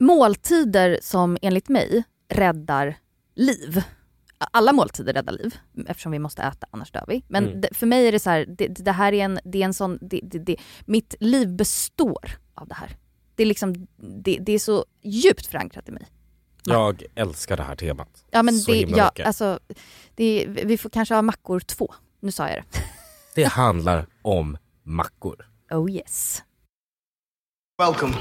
Måltider som enligt mig räddar liv. Alla måltider räddar liv eftersom vi måste äta annars dör vi. Men Mm. det, för mig är det så här, det, det här är en, det är en sån, det, det, det, mitt liv består av det här. Det är liksom, det, det är så djupt förankrat i mig. Jag älskar det här temat. Ja men så det, himla ja, mycket. alltså, det, vi får kanske ha mackor två. Nu sa jag det. Det handlar om mackor. Oh yes. Welcome.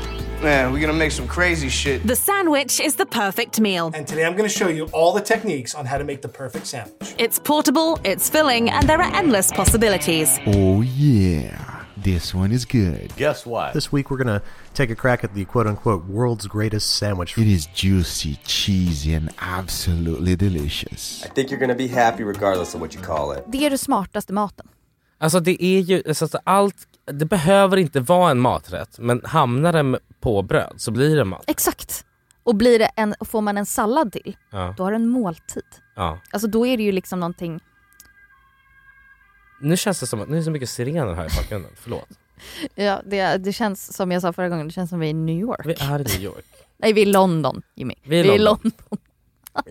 Man, we're gonna make some crazy shit. The sandwich is the perfect meal. And today I'm going to show you all the techniques on how to make the perfect sandwich. It's portable, it's filling, and there are endless possibilities. Oh yeah, this one is good. Guess what? This week we're going to take a crack at the quote unquote world's greatest sandwich. It is juicy, cheesy, and absolutely delicious. I think you're gonna be happy regardless of what you call it. Det är den smartaste maten. Alltså det är ju, alltså att allt, det behöver inte vara en maträtt men hamnar den på bröd så blir det mat. Exakt. Och blir det en, och får man en sallad till, Ja, då har du en måltid. ja. Alltså då är det ju liksom någonting, Nu känns det som att, nu är det så mycket sirener här i bakgrunden, förlåt. ja, det, det känns som jag sa förra gången, det känns som vi är i New York. Vi är i New York. Nej vi är i London Jimmy. Vi är i i London.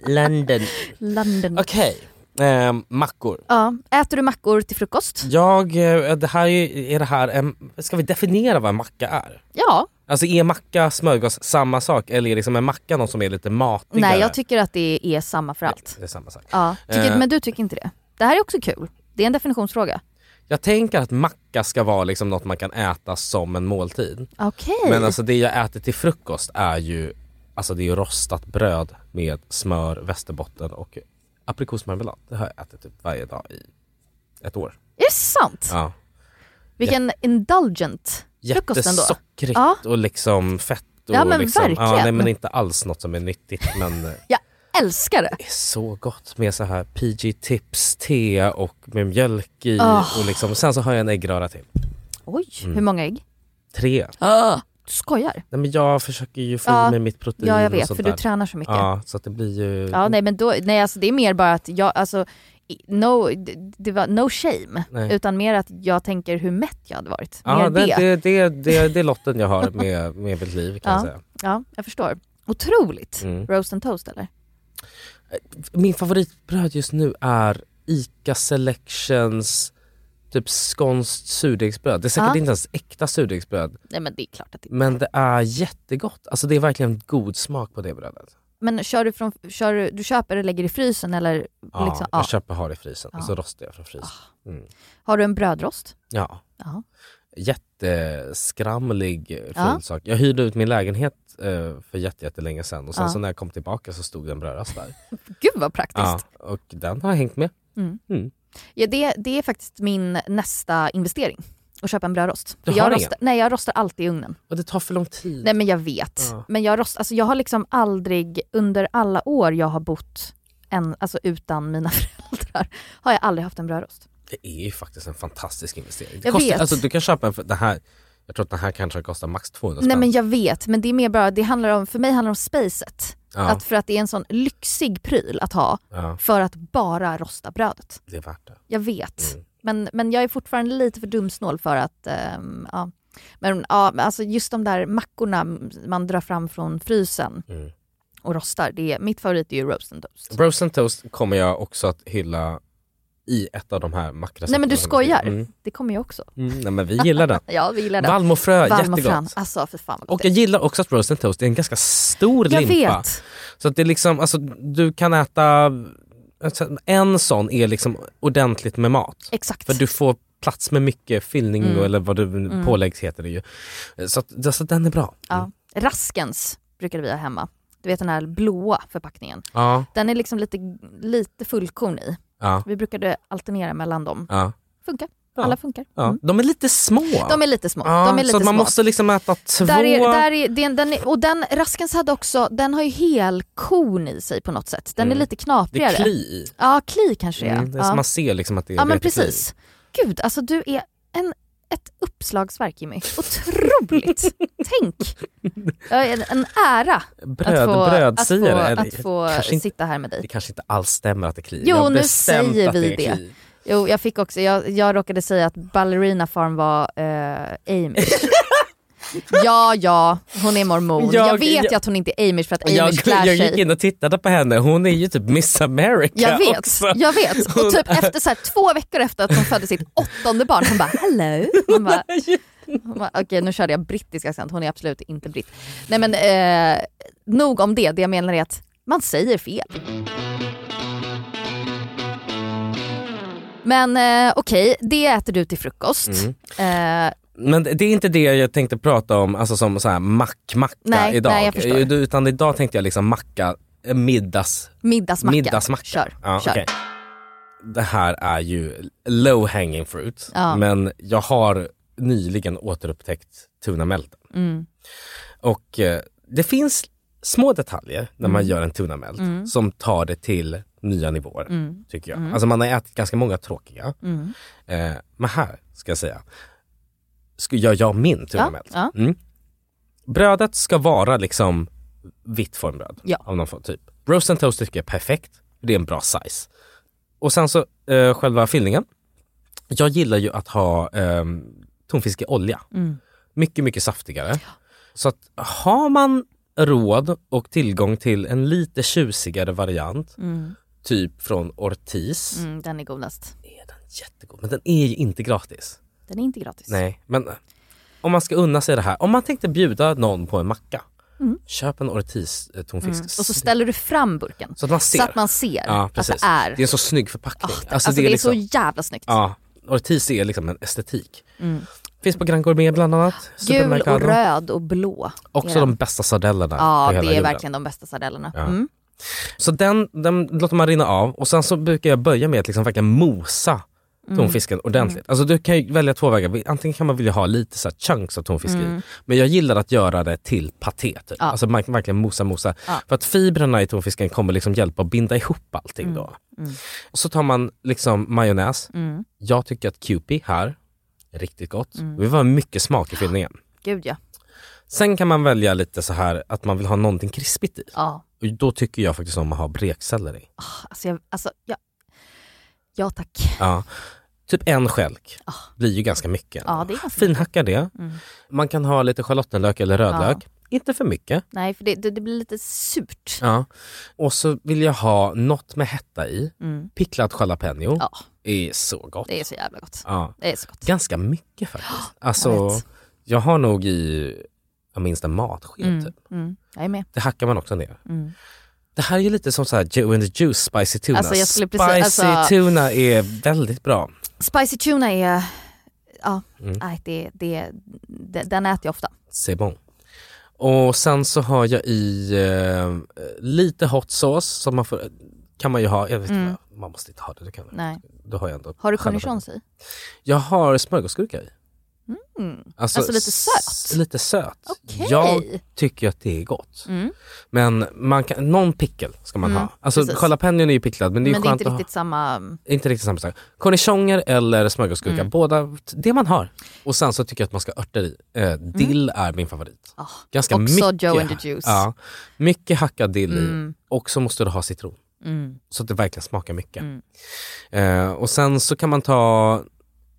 London. London. Okej, ehm, mackor. Ja, äter du mackor till frukost? Jag, eh, det här är, är det här en, ska vi definiera vad en macka är? Ja. Alltså är macka, smörgås samma sak eller är liksom en macka något som är lite matigare? Nej jag tycker att det är samma för allt. Det är samma sak. Ja. Tycker, Eh. Men du tycker inte det? Det här är också kul. Det är en definitionsfråga. Jag tänker att macka ska vara liksom något man kan äta som en måltid. Okej. Men alltså det jag äter till frukost är ju Alltså det är ju rostat bröd med smör, västerbotten och aprikosmarmelad. Det har jag ätit typ varje dag i ett år. Är det sant? Ja. Vilken indulgent frukost ändå. Jättesockrigt Ja. och liksom fett och Ja, men liksom, verkligen. nej men inte alls något som är nyttigt men det Jag älskar det. är så gott med så här PG Tips te och med mjölk i Åh. och liksom, sen så har jag en äggröra till. Oj, Mm. Ah. hur många ägg? Tre. Du skojar? Nej men jag försöker ju få Ja. i mig mitt protein Ja, jag och vet, sånt för du där. tränar så mycket. Ja, så att det blir ju... Ja, nej men då, nej alltså det är mer bara att jag, alltså, i- no, det, det var no shame. Nej. Utan mer att jag tänker hur mätt jag hade varit. mer Ja, det, det. det, det, det, det är lotten jag har med, med mitt liv kan jag Ja. säga. Ja, jag förstår. Otroligt. Mm. Roast and toast eller? Min favoritbröd just nu är ICA Selections typ skånskt surdegsbröd. Det är säkert Ja. inte ens äkta surdegsbröd Nej men det är klart att det men det är jättegott. Alltså det är verkligen god smak på det brödet. Men kör du från, kör du, du köper och lägger i frysen eller? Ja, liksom, jag ja. köper har i frysen och så Ja. rostar jag från frysen. Mm. Har du en brödrost? Ja. Ja. jätteskramlig eh, Ja. fulsak. Jag hyrde ut min lägenhet eh, för jätte- jättelänge sedan och sen Ja. så när jag kom tillbaka så stod den brödrast där. Gud vad praktiskt. Ja, och den har hängt med. Mm. Mm. Ja, det, det är faktiskt min nästa investering. Att köpa en brödrost. För Du har jag, ingen? rostar, nej, jag rostar alltid i ugnen. Och det tar för lång tid. Nej men jag vet. Ja. Men jag, rost, alltså, jag har liksom aldrig, under alla år jag har bott en, alltså, utan mina föräldrar, har jag aldrig haft en brödrost. Det är ju faktiskt en fantastisk investering. Det Jag kostar, vet. alltså, du kan köpa en, för den här, jag tror att den här kanske kostar max 200 Nej spänn. men jag vet, men det är mer bara, det handlar om, för mig handlar det om spacet. ja, Att för att det är en sån lyxig pryl att ha ja, för att bara rosta brödet. det är värt det. Jag vet. Mm. Men, men jag är fortfarande lite för dumsnål för att, ehm, ja. Men ja, men alltså just de där mackorna man drar fram från frysen Mm. och rostar, det är, mitt favorit är ju roast and toast. Roast and toast kommer jag också att hylla i ett av de här mackrecepten. Nej men du som- skojar? Mm. Det kommer jag också. Mm, nej men vi gillar den. Ja vi gillar den. Valm och frö, Valm och jättegott. frön. Alltså för fan vad gott Och det jag är. gillar också att roast and toast är en ganska stor Jag limpa. vet. Så att det är liksom, alltså du kan äta, alltså, en sån är liksom ordentligt med mat. Exakt. För du får plats med mycket fyllning Mm. och, eller vad du, Mm. pålägg heter det ju. Så att, alltså, den är bra. Ja. Raskens brukade vi ha hemma. Du vet den här blåa förpackningen. Ja, Den är liksom lite, lite fullkorn i. ja, Vi brukade alternera mellan dem. ja. Funkar. Alla funkar. ja. Mm. De är lite små. De är lite små. ja, de är lite så att man små. måste liksom äta två. Där är, där är, den, den är, och den, Raskens hade också, den har ju helkorn i sig på något sätt. Den Mm. är lite det är knaprigare. kli i. Ja, kli kanske det är. Mm, det är så ja. Man ser liksom att det är ja men rökt kli. precis. Gud, alltså du är en, ett uppslagsverk Jimmy. Otroligt! Tänk! Ja, En, en ära Bröd, att få, brödsiare. att få, eller- att få kanske inte- sitta här med Det dig. kanske inte alls stämmer att det är kli. Jo, Jag har nu bestämt säger att vi är det. kli. Jo, jag fick också, jag, jag råkade säga att Ballerina Farm var eh, Amish. Ja, ja, hon är mormon. Jag, Jag- vet jag- ju att hon inte är Amish för att Amish Jag, klär jag sig. gick in och tittade på henne, hon är ju typ Miss America Jag vet, också. jag vet. Hon Och typ efter så här, två veckor efter att hon födde sitt åttonde barn, hon bara hello. Man bara, hon bara, Okej nu körde jag brittisk accent, hon är absolut inte britt. Nej men eh, nog om det, det jag menar är att man säger fel. Men eh, okej, det äter du till frukost. Mm. Eh, Men det är inte det jag tänkte prata om alltså som så här mack-macka Nej, idag. Eh, nej, jag förstår. Utan idag tänkte jag liksom macka, eh, middags, middagsmacka. middagsmacka. Kör. Ja, kör. okej. Det här är ju low hanging fruit Ja. men jag har nyligen återupptäckt tunamelten. Mm. Och eh, det finns små detaljer när man gör en tunamelt som tar det till nya nivåer. Mm. Tycker jag. Alltså man har ätit ganska många tråkiga. Mm. Eh, men här ska jag säga, ska jag gör min tunamelt. ja. Mm. Brödet ska vara liksom vitt formbröd Ja. av någon form, typ. Roast and toast tycker jag är perfekt, det är en bra size. Och sen så eh, själva fyllningen. Jag gillar ju att ha eh, tonfisk i olja. Mm. Mycket, mycket saftigare. Så att har man råd och tillgång till en lite tjusigare variant, Mm. typ från Ortiz, Mm, den är godast. är den jättegod. Men den är ju inte gratis. Den är inte gratis. Nej, men om man ska unna sig det här. Om man tänkte bjuda någon på en macka, köp en Ortiz eh, tonfisk. Mm. Och så ställer du fram burken. så att man ser. Så att man ser Ja, att precis. det är. Det är en så snygg förpackning. alltså, det är, liksom, så jävla snyggt. ja, Ortiz är liksom en estetik. Mm. Finns på Grand Gourmet bland annat. Gul Supermercado. och röd och blå. Också är den. de bästa sardellerna Ja på hela det är jorden. verkligen de bästa sardellerna. Ja. Mm. Så den, den låter man rinna av och sen så brukar jag börja med att liksom verkligen mosa Mm. tonfisken ordentligt. Alltså du kan ju välja två vägar. Antingen kan man vilja ha lite så här chunks av tonfisk i. Men jag gillar att göra det till paté. Typ. Mm. Ja. Alltså man kan verkligen mosa mosa. Ja. För att fibrerna i tonfisken kommer liksom hjälpa att binda ihop allting då. Och så tar man liksom majonnäs. Mm. Jag tycker att Kewpie här, är riktigt gott. Det var mycket smak i fyllningen. Gud ja. Sen kan man välja lite så här att man vill ha någonting krispigt i. ja. Och då tycker jag faktiskt om att ha brekselleri. Alltså, jag, alltså, jag... ja tack. Ja. Typ en skälk Ah. blir ju ganska mycket. Ja, det är ganska Finhacka det. Mm. Man kan ha lite schalottenlök eller rödlök. Inte för mycket. Nej för det, det, det blir lite surt. Ja. Och så vill jag ha något med hetta i. Mm. Picklad jalapeno Ja är så gott. det är så jävla gott. Ja. Det är så gott. Ganska mycket faktiskt. Alltså, jag jag, vet. har nog i jag minst en matsked. Mm. Typ. Mm. Jag är med. Det hackar man också ner. Mm. Det här är ju lite som så här Joe and the Juice spicy tuna. Alltså, jag skulle precis- spicy alltså- tuna är väldigt bra. Spicy tuna är, ja, Mm. nej, det, det, det, den äter jag ofta. C'est bon. Och sen så har jag i eh, lite hot sauce som man får, kan man ju ha, jag vet Mm. inte, vad- man måste inte ha det. Du kan, Nej. Då har jag ändå Har du själva- cornichons i? Jag har smörgåsgurka i. Mm. Alltså lite s- söt? Lite söt. Okej. Jag tycker att det är gott. Mm. Men man kan, någon pickel ska man Mm, ha. Alltså precis. jalapenon är ju picklad men det är ju Men det är skönt inte att riktigt samma ha. Inte riktigt samma sak. Cornichoner eller smörgåsgurka, Mm. båda det man har. Och sen så tycker jag att man ska ha örter i. Eh, dill är min favorit. Mm. Ah, Ganska också mycket, Joe and the Juice. Ja, mycket hackad dill i Mm, och så måste du ha citron mm, så att det verkligen smakar mycket. mm. Eh, och sen så kan man ta,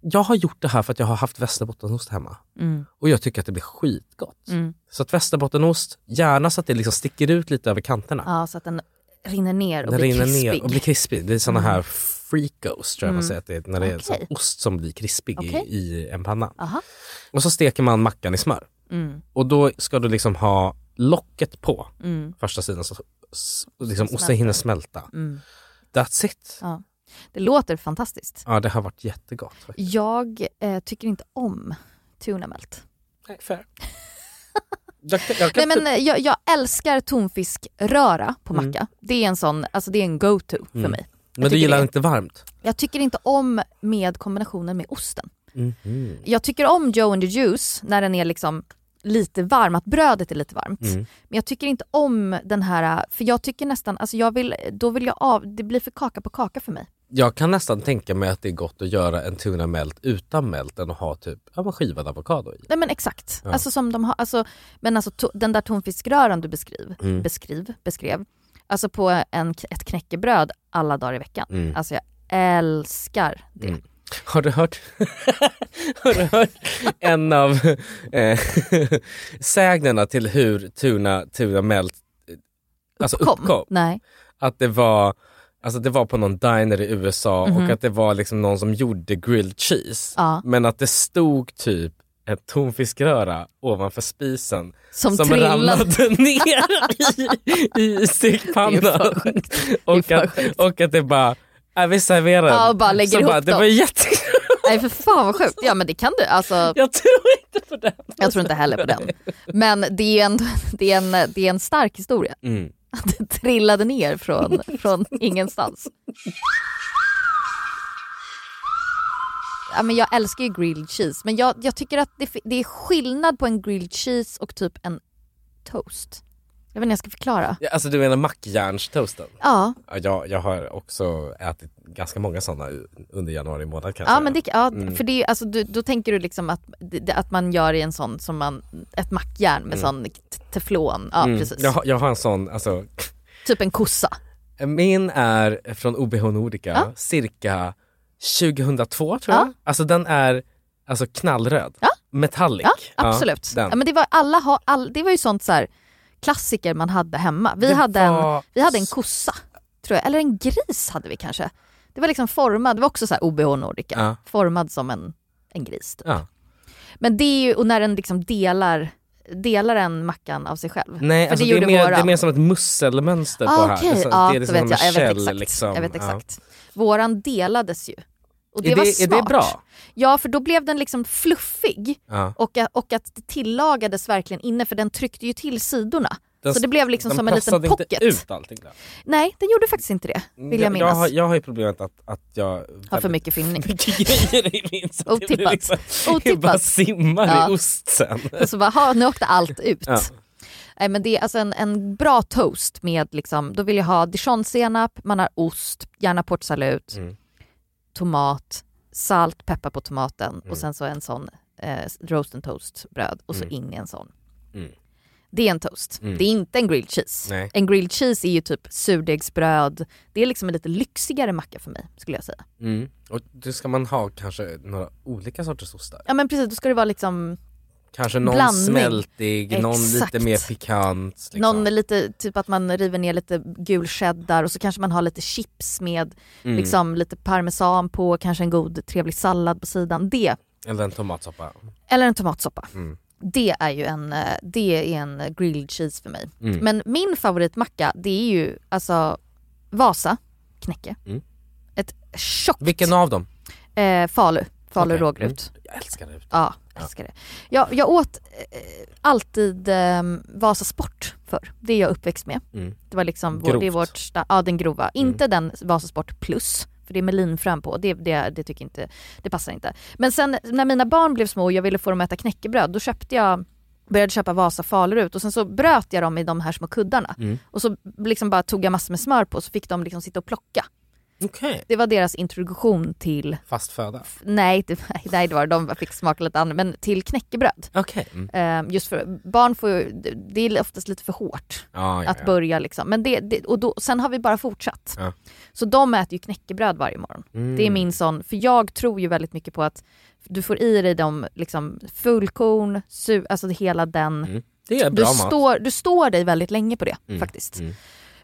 jag har gjort det här för att jag har haft västerbottenost hemma Mm, och jag tycker att det blir skitgott. mm. Så att västerbottenost, gärna så att det liksom sticker ut lite över kanterna. Ja, så att den rinner ner och Den blir rinner krispig. ner och blir krispig. Det är såna här f- free ghost tror jag man Mm. säger att det är, när det är så Okej. ost som blir krispig Okej. i, i en panna. Aha. Och så steker man mackan i smör. Mm. Och då ska du liksom ha locket på Mm. första sidan så s- liksom Smälter. osten hinner smälta. Mm. That's it. Ja. Det låter fantastiskt. Ja, det har varit jättegott. faktiskt. Jag eh, tycker inte om tuna melt. Jag, kan- jag kan Nej men typ- eh, jag, jag älskar tonfiskröra på Mm. macka. Det är en sån, alltså det är en go-to för Mm. mig. men du tycker gillar det. inte varmt? Jag tycker inte om med kombinationen med osten. Mhm. Jag tycker om Joe and the Juice när den är liksom lite varm, att brödet är lite varmt. Mm. Men jag tycker inte om den här, för jag tycker nästan, alltså jag vill, då vill jag av, det blir för kaka på kaka för mig. Jag kan nästan tänka mig att det är gott att göra en tuna melt utan melt än att ha typ ja, men skivad avokado i. Nej men exakt. Ja. Alltså som de har, alltså, men alltså to, den där tonfiskröran du beskriv, Mm. beskriv, beskrev, alltså på en, ett knäckebröd alla dagar i veckan. Mm. Alltså jag älskar det. Mm. Har du hört, har du hört en av eh, sägnerna till hur tuna, tuna melt eh, alltså uppkom? Nej. Att det var, alltså det var på någon diner i USA och Mhm. att det var liksom någon som gjorde grilled cheese. Ja. Men att det stod typ en tonfiskröra ovanför spisen Som, som trillade. ramlade ner i, i Det är stekpannan. för sjukt. Och Det är att, för sjukt. och att det bara, är vi serverar Ja, och bara lägger Så ihop bara, det dem. var jättegott. Nej för fan vad sjukt. Ja men det kan du, alltså Jag tror inte på det. jag tror inte heller på den. Men det är en, det är en, det är en stark historia. Mm. Att det trillade ner från, från ingenstans. Ja, men jag älskar ju grilled cheese men jag, jag tycker att det, fi- det är skillnad på en grilled cheese och typ en toast. Jag vet inte jag ska förklara. Ja, Alltså du menar mackjärnstoasten? Ja, Ja, jag, jag har också ätit ganska många sådana u- under januari månad kan jag ja säga. men det, ja, Mm. för det är, ju- alltså, du, då tänker du liksom att, det- att man gör i en sån som man, ett mackjärn med sån t- teflon. Ja Mm. precis. Jag, har- jag har en sån, alltså, Typ en kossa. min är från OBH Nordica Ja. cirka 2002 tror jag. Ja. Alltså den är alltså knallröd, Ja. metallic. Ja, absolut. Ja, den. men det, var, alla ha, all, det var ju sånt så här, klassiker man hade hemma. Vi, Det hade en, var vi hade en så- kossa, tror jag. Eller en gris hade vi kanske. Det var liksom formad, det var också så här OBH Nordica, Ja. formad som en, en gris. Typ. Ja. Men det är ju, och när den liksom delar, delar en mackan av sig själv. Nej, För alltså, det det, är gjorde mer, det våran. är mer som ett musselmönster på ah, här. okej. Alltså, Ja, det då är liksom vet jag. som en Jag vet käll, exakt. liksom. Jag vet Ja. exakt. Våran delades ju. Och det, Är var det- är smart. det bra? Ja, för då blev den liksom fluffig. Ja. Och, a- och att det tillagades verkligen inne för den tryckte ju till sidorna. Den- så det blev liksom den som en liten pressade pocket. inte ut allting där. Nej, den gjorde faktiskt inte det, vill jag, minnas. Jag har, jag har ju problemet att, att jag Har för väldigt- mycket fyllning. mycket grejer i min så det blir Otippat. liksom, det Otippat. bara simmar Ja. i ost sen. Och så bara, ha, nu åkte allt ut. Ja. Nej, men det är alltså en, en bra toast med, liksom, då vill jag ha dijonsenap, man har ost, gärna portsalut, Mm. tomat, salt, peppar på tomaten Mm. och sen så en sån eh, roast and toast bröd och så in i en sån. Mm. Det är en toast, det är inte en grilled cheese. Nej. En grilled cheese är ju typ surdegsbröd, det är liksom en lite lyxigare macka för mig skulle jag säga. Mm. Och då ska man ha kanske några olika sorters ostar. Ja men precis, då ska det vara liksom Kanske någon Blandning. smältig, någon Exakt. lite mer pikant. Liksom. Någon är lite, typ att man river ner lite gul cheddar och så kanske man har lite chips med Mm. liksom lite parmesan på, kanske en god trevlig sallad på sidan. Det, Eller en tomatsoppa. eller en tomatsoppa. Mm. Det är ju en, eh, det är en grilled cheese för mig. Mm. Men min favoritmacka det är ju alltså Vasa knäcke. Mm. Ett tjockt Vilken av dem? eh, Falu, Falu Okej. rågryt. Mm. Jag älskar det. Ja, jag älskar det. Jag, jag åt eh, alltid eh, Vasa Sport förr. Det är jag uppväxt med. Mm. Det var liksom vår, det är Grovt. Mm. vårt, sta- ja den grova. Inte den Vasasport plus, för det är med linfrön på. Det, det, det tycker inte, det passar inte. Men sen när mina barn blev små och jag ville få dem att äta knäckebröd, då köpte jag började köpa Vasa Falerut och sen så bröt jag dem i de här små kuddarna. Mm. Och så liksom bara tog jag massor med smör på så fick de liksom sitta och plocka. Okej. Det var deras introduktion till, Fast föda. nej det, nej, det var de fick smaka lite annat, men till knäckebröd. Okej. Mm. Eh, Just för barn får ju, det- det är oftast lite för hårt Ja, ja, att ja. börja liksom. Men det, det, och då, sen har vi bara fortsatt. Ja. Så de äter ju knäckebröd varje morgon. Mm. Det är min sån, för jag tror ju väldigt mycket på att du får i dig de liksom fullkorn, su, alltså hela den. Mm. Det är Du, bra mat. står, du står dig väldigt länge på det faktiskt. mm.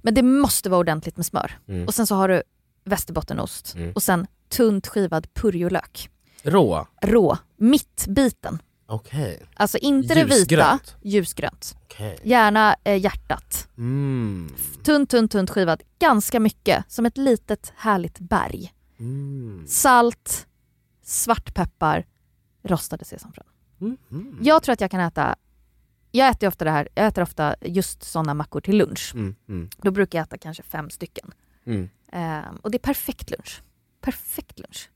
Men det måste vara ordentligt med smör. Mm. Och sen så har du västerbottenost Mm. och sen tunt skivad purjolök. Rå? Rå, mittbiten. Okej. Alltså inte det vita, Ljusgrönt. ljusgrönt. Okej. Gärna eh, hjärtat. Mm. Tunt, tunt, tunt skivad. Ganska mycket, som ett litet härligt berg. Mm. Salt, svartpeppar, rostade sesamfrön. Mm. Jag tror att jag kan äta, jag äter ju ofta det här, jag äter ofta just sådana mackor till lunch. Mm. Mm. Då brukar jag äta kanske fem stycken. Mm. Ehm, och det är perfekt lunch. Perfekt lunch.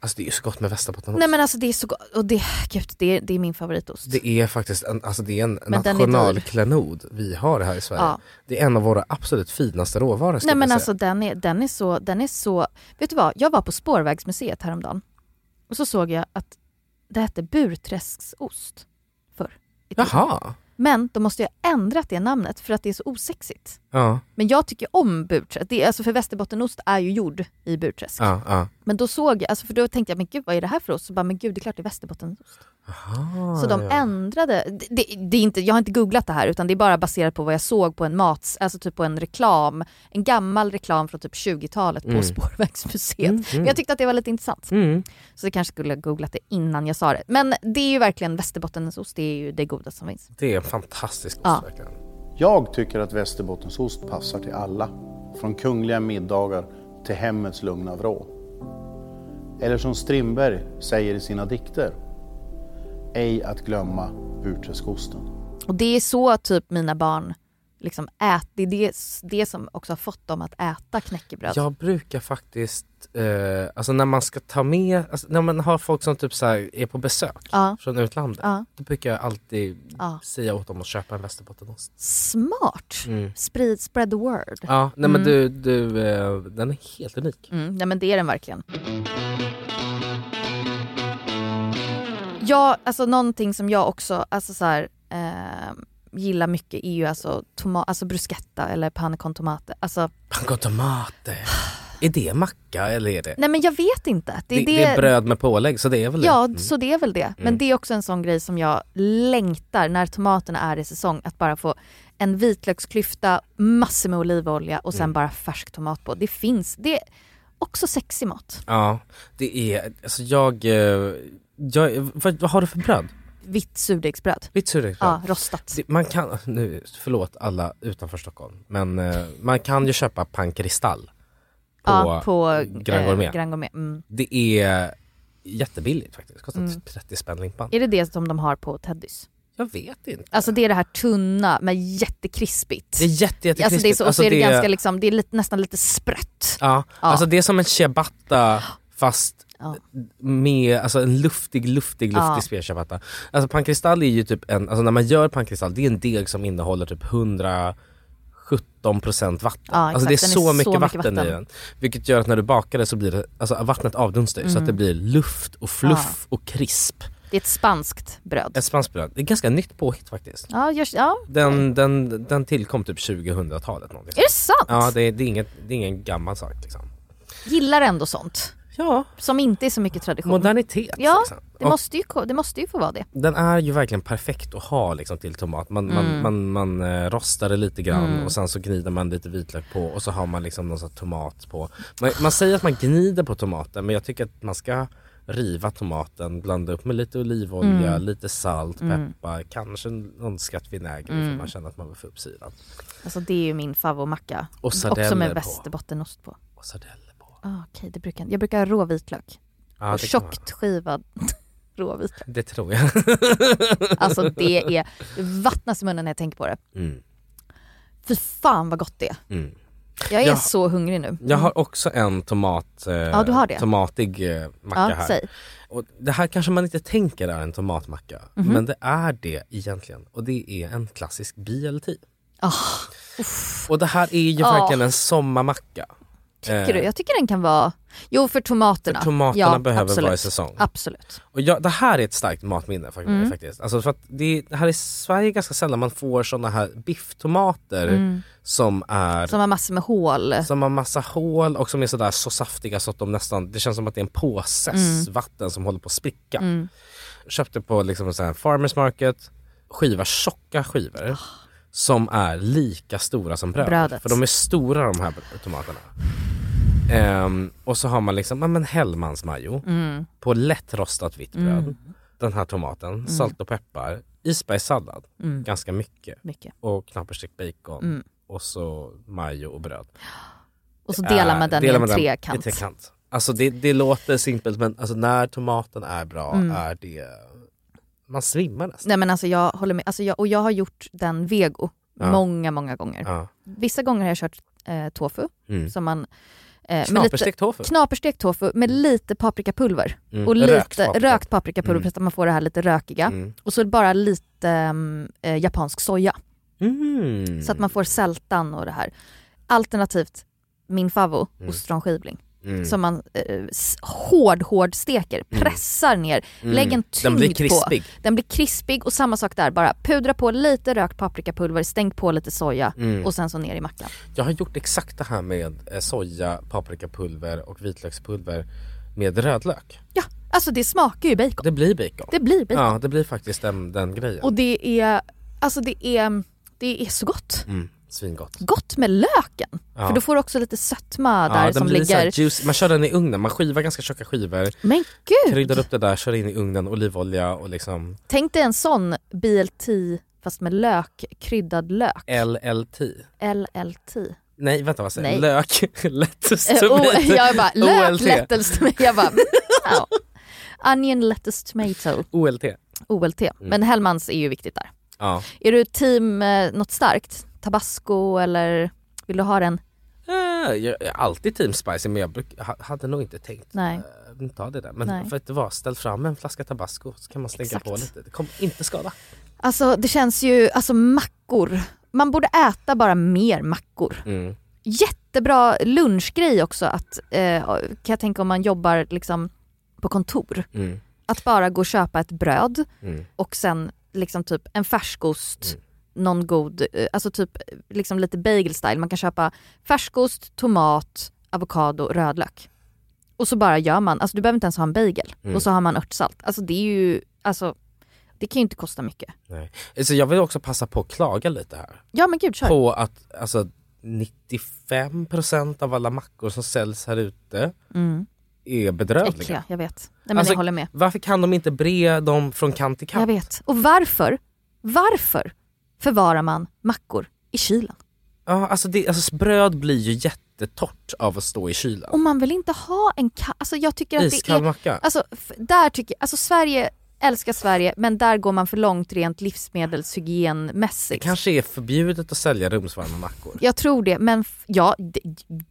Alltså det är ju så gott med västerbottenost. Nej men alltså det är så gott, och det, gud, det, är, det är min favoritost. Det är faktiskt en, alltså det är en Men den är dyr. nationalklenod vi har här i Sverige. Ja. Det är en av våra absolut finaste råvaror skulle Nej men jag alltså säga. den är, den är så, den är så, vet du vad, jag var på Spårvägsmuseet häromdagen och så såg jag att det hette Burträsksost förr. i tiden. Jaha. Men de måste ju ha ändrat det namnet för att det är så osexigt. Ja, Men jag tycker om burträsk, det är, alltså för västerbottenost är ju gjord i burträsk. ja, ja. Men då såg jag, alltså för då tänkte jag men gud vad är det här för ost? Så bara men gud det är klart det är västerbottenost. Aha, Så de ja. ändrade, det, det, det är inte, jag har inte googlat det här utan det är bara baserat på vad jag såg på en mats, alltså typ på en reklam, en gammal reklam från typ 20-talet på Mm. Spårvägsmuseet. Mm, mm. Men jag tyckte att det var lite intressant. Mm. Så jag kanske skulle ha googlat det innan jag sa det. Men det är ju verkligen västerbottensost, det är ju det goda som finns. Det är en fantastisk ost Ja. verkligen. Jag tycker att västerbottensost passar till alla. Från kungliga middagar till hemmets lugna vrå. Eller som Strindberg säger i sina dikter. Ej att glömma burträskosten. Och det är så typ mina barn liksom äter, det är det, det som också har fått dem att äta knäckebröd. Jag brukar faktiskt, eh, alltså när man ska ta med, alltså när man har folk som typ så här är på besök Ja. från utlandet. Ja. Då brukar jag alltid Ja. säga åt dem att köpa en västerbottenost. Smart! Mm. Sprid, spread the word. Ja, nej men Mm. du, du eh, den är helt unik. Mm, nej men det är den verkligen. Ja, alltså någonting som jag också alltså så här, eh, gillar mycket är ju alltså, toma- alltså bruschetta eller panna con tomate. Alltså, Panko tomate. Är det macka eller är det? nej men jag vet inte. Det, det är bröd med pålägg så det är väl Ja, det? Mm. så det är väl det. Men Mm. det är också en sån grej som jag längtar när tomaterna är i säsong. Att bara få en vitlöksklyfta, massor med olivolja och Mm. sen bara färsk tomat på. Det finns, det är också sexig mat. Ja, det är, alltså jag, eh, jag vad, vad har du för bröd? Vitt surdegsbröd. Vitt surdegsbröd? Ja, rostat. Det- Man kan, nu förlåt alla utanför Stockholm, men eh, man kan ju köpa pankristall på, ja, på Grand Gourmet. Eh, Grand Gourmet. Mm. Det är jättebilligt faktiskt, kostar Mm. 30 spänn limpan. Är det det som de har på Teddys? Jag vet inte. Alltså det är det här tunna men jättekrispigt. det är jätte, jätte Alltså det är, så, och så är det, ganska liksom, det är lite, nästan lite sprött. ja, alltså det är som en ciabatta fast Ja. med alltså en luftig, luftig, luftig Ja. spelciabatta. Alltså pankristall är ju typ en, alltså när man gör pankristall, det är en deg som innehåller typ 117% vatten. Ja, alltså det är exakt. Den så, är så mycket, mycket vatten, vatten. i den. Vilket gör att när du bakar det så blir det, alltså vattnet avdunstar ju så Mm. att det blir luft och fluff och krisp. Det är ett spanskt bröd. Ett spanskt bröd. Det är ganska nytt påhitt faktiskt. Ja, görs, ja. Den, den, den tillkom typ 2000-talet någonting. Är det sant? Ja, det, är- det, är inget, det är ingen gammal sak liksom. Gillar ändå sånt. Ja, Som inte är så mycket tradition. modernitet Ja, liksom. det Och- måste, ju, ko- det måste ju få vara det. den är ju verkligen perfekt att ha liksom, till tomat. Man, Mm. man, man, man eh, rostar det lite grann Mm. och sen så gnider man lite vitlök på och så har man liksom någon sån här tomat på. Man, man säger att man gnider på tomaten men jag tycker att man ska riva tomaten, blanda upp med lite olivolja, Mm. lite salt, Mm. peppar, kanske någon skatt vinäger Mm. ifall man känner att man vill få upp syran. Alltså det är ju min favvomacka. Och Också sardeller med på. västerbottenost på. Och sardeller på. Ah, Okej, det brukar jag. Jag brukar ha rå vitlök. Ja, och det, kan man- tjockt skivad rå vitlök. det tror jag. Alltså det är, det vattnas i munnen när jag tänker på det. Mm. Fy fan vad gott det är. Mm. Jag är Ja. så hungrig nu. Jag har också en tomat, eh, Ja, du har det. tomatig eh, macka ja, här. säg. Och det här kanske man inte tänker är en tomatmacka, Mhm. men det är det egentligen. Och det är en klassisk BLT. Ah, Och det här är ju Ah. verkligen en sommarmacka. Tycker du? Jag tycker den kan vara... Jo, för tomaterna. Eh. Tomaterna ja, behöver absolut. vara i säsong. Absolut. Och jag, det här är ett starkt matminne fak- Mm. faktiskt. Alltså för att det, det här i Sverige är ganska sällan man får såna här bifftomater Mm. som är Som har massor med hål. som har massa hål och som är sådär så saftiga så att de nästan, det känns som att det är en påsess vatten som håller på att spricka. Mm. köpte på liksom en sån här farmers market, skiva tjocka skivor som är lika stora som brödet. Ah. Brödet. För de är stora de här tomaterna. Ehm, och så har man liksom, ja men Hellmansmajo Mm. på lätt rostat vitt bröd. Mm. Den här tomaten, salt och peppar, isbergssallad, Mm. ganska mycket. Mycket. Och knapperstekt bacon Mm. och så majo och bröd. Och så delar man Eh, den delar i en man den trekant. i trekant. Alltså det, det låter simpelt men alltså när tomaten är bra Mm. är det, man svimmar nästan. Nej men alltså jag håller med, alltså jag, och jag har gjort den vego Ja. många, många gånger. Ja. Vissa gånger har jag kört eh, tofu, Mm. som man... eh, med Knaperstekt lite- tofu. Knaperstekt tofu med lite paprikapulver. Mm. Och lite Rökt rökt, paprika. paprikapulver Mm. så att man får det här lite rökiga. Mm. Och så bara lite mm, eh, japansk soja. Mm. Så att man får sältan och det här. Alternativt min favvo, ostronskivling. Mm. Som man eh, s- hård, hård steker, pressar ner, Mm. lägg en Den tyngd blir på. krispig. Den blir krispig och samma sak där, bara pudra på lite rökt paprikapulver, stäng på lite soja Mm. och sen så ner i mackan. Jag har gjort exakt det här med eh, soja, paprikapulver och vitlökspulver med rödlök. Ja, alltså det smakar ju bacon. Det blir bacon. Det blir bacon. Ja, det blir faktiskt den, den grejen. Och det är, alltså det är, det är så gott. Mm, svingott. Gott med löken. Ja. För då får du också lite sötma ja, där den som blir så här ligger. juicy. Man kör den i ugnen, man skivar ganska tjocka skivor, Men gud! kryddar upp det där, kör in i ugnen, olivolja och liksom Tänk dig en sån BLT fast med lök, kryddad lök. LLT. LLT. Nej vänta vad säger Nej. jag? Lök, lettuce, Eh, tomato, oh, jag bara, lök, OLT. lettuce, tomato. Jag bara, wow. Onion, lettuce, tomato. OLT. OLT. Men Hellmans är ju viktigt där. Ja. Är du team eh, något starkt? Tabasco eller vill du ha den? Eh, Jag är alltid team spicy men jag bruk, ha- hade nog inte tänkt Nej. eh, ta det där. Men Nej. vet du vad, ställ fram en flaska tabasco så kan man slänga Exakt. på lite. Det kommer inte skada. Alltså det känns ju, alltså mackor. Man borde äta bara mer mackor. Mm. Jättebra lunchgrej också att, eh, kan jag tänka om man jobbar liksom på kontor. Mm. Att bara gå och köpa ett bröd Mm. och sen liksom typ en färskost, någon god, eh, alltså typ eh, liksom lite bagel style. Man kan köpa färskost, tomat, avokado, rödlök. Och så bara gör man, alltså du behöver inte ens ha en bagel. Mm. Och så har man örtsalt. Alltså det är ju, alltså det kan ju inte kosta mycket. Nej. Eh, Så jag vill också passa på att klaga lite här. Ja men gud kör. På att alltså, 95% av alla mackor som säljs här ute Mm. är bedrövliga. Äckliga, jag vet. Nej men Alltså, jag håller med. Varför kan de inte bre dem från kant till Jag kant? vet. Och varför, varför förvarar man mackor i kylen? Ja, alltså, det, alltså bröd blir ju jättetort av att stå i kylen. Och man vill inte ha en ka- alltså jag tycker att det Iskall är... macka. Alltså, f- där tycker alltså Sverige, älskar Sverige, men där går man för långt rent det livsmedelshygienmässigt. kanske är förbjudet att sälja rumsvarma mackor. Jag tror det, men f- ja, d-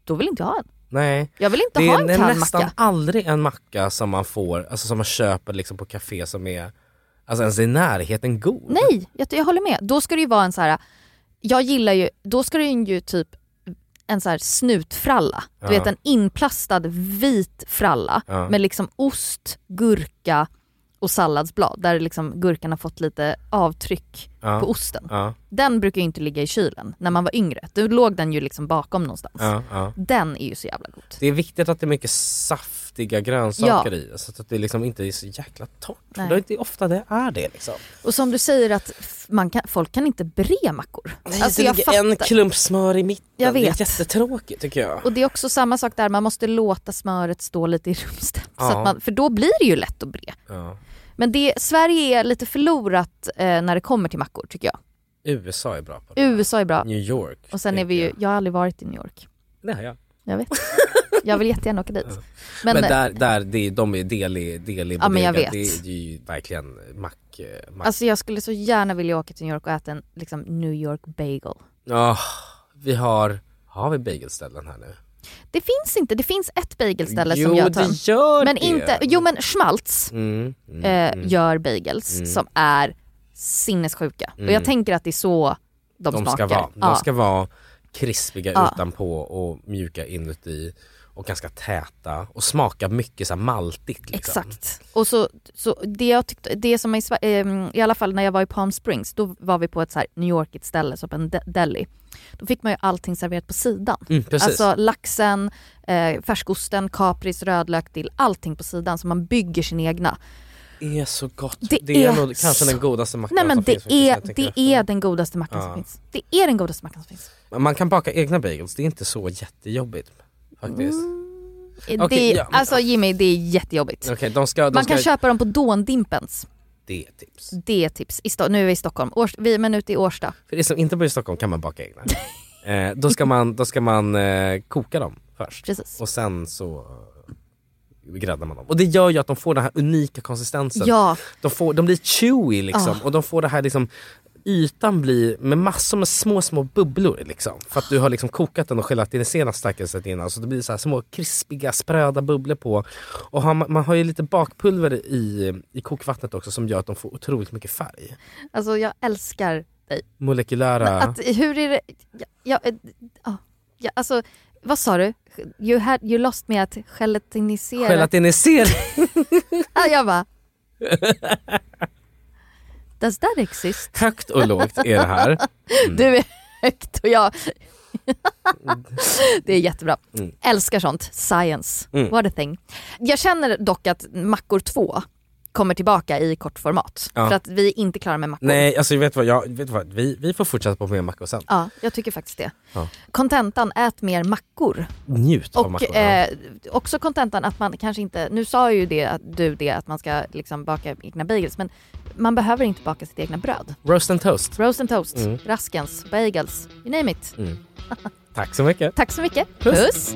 då vill inte jag ha en. Nej. Jag vill inte Det ha är en kall nästan macka. aldrig en macka som man får, alltså som man köper liksom på café som är, alltså ens i närheten god. Nej, jag, jag håller med. Då ska det ju vara en så här, jag gillar ju, då ska det ju typ en så här snutfralla. Du Ja. vet en inplastad vit fralla Ja. med liksom ost, gurka och salladsblad där liksom gurkan har fått lite avtryck Ja. på osten. Ja, Den brukar ju inte ligga i kylen när man var yngre. Då låg den ju liksom bakom någonstans. ja, ja. Den är ju så jävla god. Det är viktigt att det är mycket saftiga grönsaker Ja. i så att det liksom inte är så jäkla torrt. För Nej. Det är inte ofta det är det liksom. Och som du säger att f- man kan, folk kan inte bre mackor. Alltså, Alltså, det ligger en klump smör i mitten. Jag vet. Det är jättetråkigt tycker jag. Och det är också samma sak där, man måste låta smöret stå lite i rumstemp. Ja. Så att man, för då blir det ju lätt att bre. Ja. Men det, Sverige är lite förlorat eh, när det kommer till mackor tycker jag. USA är bra på det. USA är bra. New York. Och sen är tänker vi ju, jag. jag har aldrig varit i New York. Det har jag. Jag vet. Jag vill jättegärna åka dit. Men, Men, eh, där, där det, är- de är del i, del i Ja, men jag bodega. vet. Det är ju verkligen mack... eh, mack. alltså jag skulle så gärna vilja åka till New York och äta en liksom, New York bagel. Ah, vi har... Har vi bagelställen här nu? Det finns inte, det finns ett bagelställe jo, som jag tar. det gör Men det. inte, jo men Schmaltz. Mm, mm, eh, mm. Mm. gör bagels som är sinnessjuka. Och jag tänker att det är så de, de smakar. ska vara. Ja. De ska vara krispiga Ja. utanpå och mjuka inuti och ganska täta och smaka mycket så här maltigt. Liksom. Exakt. Och så, så det jag tyckte, det som är i, Sve- ehm, i alla fall när jag var i Palm Springs, då var vi på ett så här New Yorkigt ställe, som en de- deli. Då fick man ju allting serverat på sidan. Mm, precis. Alltså laxen, eh, färskosten, kapris, rödlök, dill, allting på sidan så man bygger sin egna. det är så gott. Det Det, är är nog kanske så- den godaste mackan Nej men som det finns. faktiskt, är, jag tänker det efter. är den godaste mackan som Ja. finns. Det är den godaste mackan som finns. Mm. Man kan baka egna bagels, det är inte så jättejobbigt faktiskt. Det, Okej, ja, men- Alltså Jimmy, det är jättejobbigt. Okej, de ska, de Man ska, kan köpa dem på Dåndimpens. Det är ett tips. Det är ett tips. I Sto- nu är vi i Stockholm, Års- vi är men ute i Årsta. För det som inte bor i Stockholm kan man baka egna. eh, då ska man, då ska man eh, koka dem först. Precis. Och sen så eh, gräddar man dem. Och det gör ju att de får den här unika konsistensen. Ja, De, får, de blir chewy liksom Ah. och de får det här liksom Ytan blir med massor med små små bubblor liksom. För att du har liksom kokat den och gelatiniserat stackelset innan. Så det blir så här små krispiga spröda bubblor på. Och har, man, man har ju lite bakpulver i, i kokvattnet också som gör att de får otroligt mycket färg. alltså jag älskar dig. Molekylära... Att, hur är det, ja, ja, eh, ja, ja, alltså vad sa du? You, had, you lost me att gelatinisera. Gelatinisering! Ah, jag bara... Does that exist? Högt och lågt är det här. Mm. Du är högt och jag... det är jättebra. Mm. Älskar sånt. Science. Mm. What a thing. Jag känner dock att mackor 2 kommer tillbaka i kortformat. Ja. För att vi är inte klara med mackor. Nej, alltså vet du vad, jag, vet du vad? Vi, vi får fortsätta på mer mackor sen. Ja, jag tycker faktiskt det. Ja. Kontentan, ät mer mackor. Njut av mackor. Och ja. eh, också kontentan att man kanske inte, nu sa ju det, att du det att man ska liksom baka egna bagels men man behöver inte baka sitt egna bröd. Roast and toast. Roast and toast, Mm. raskens, bagels, you name it. Mm. Tack så mycket. Tack så mycket. Puss. Puss.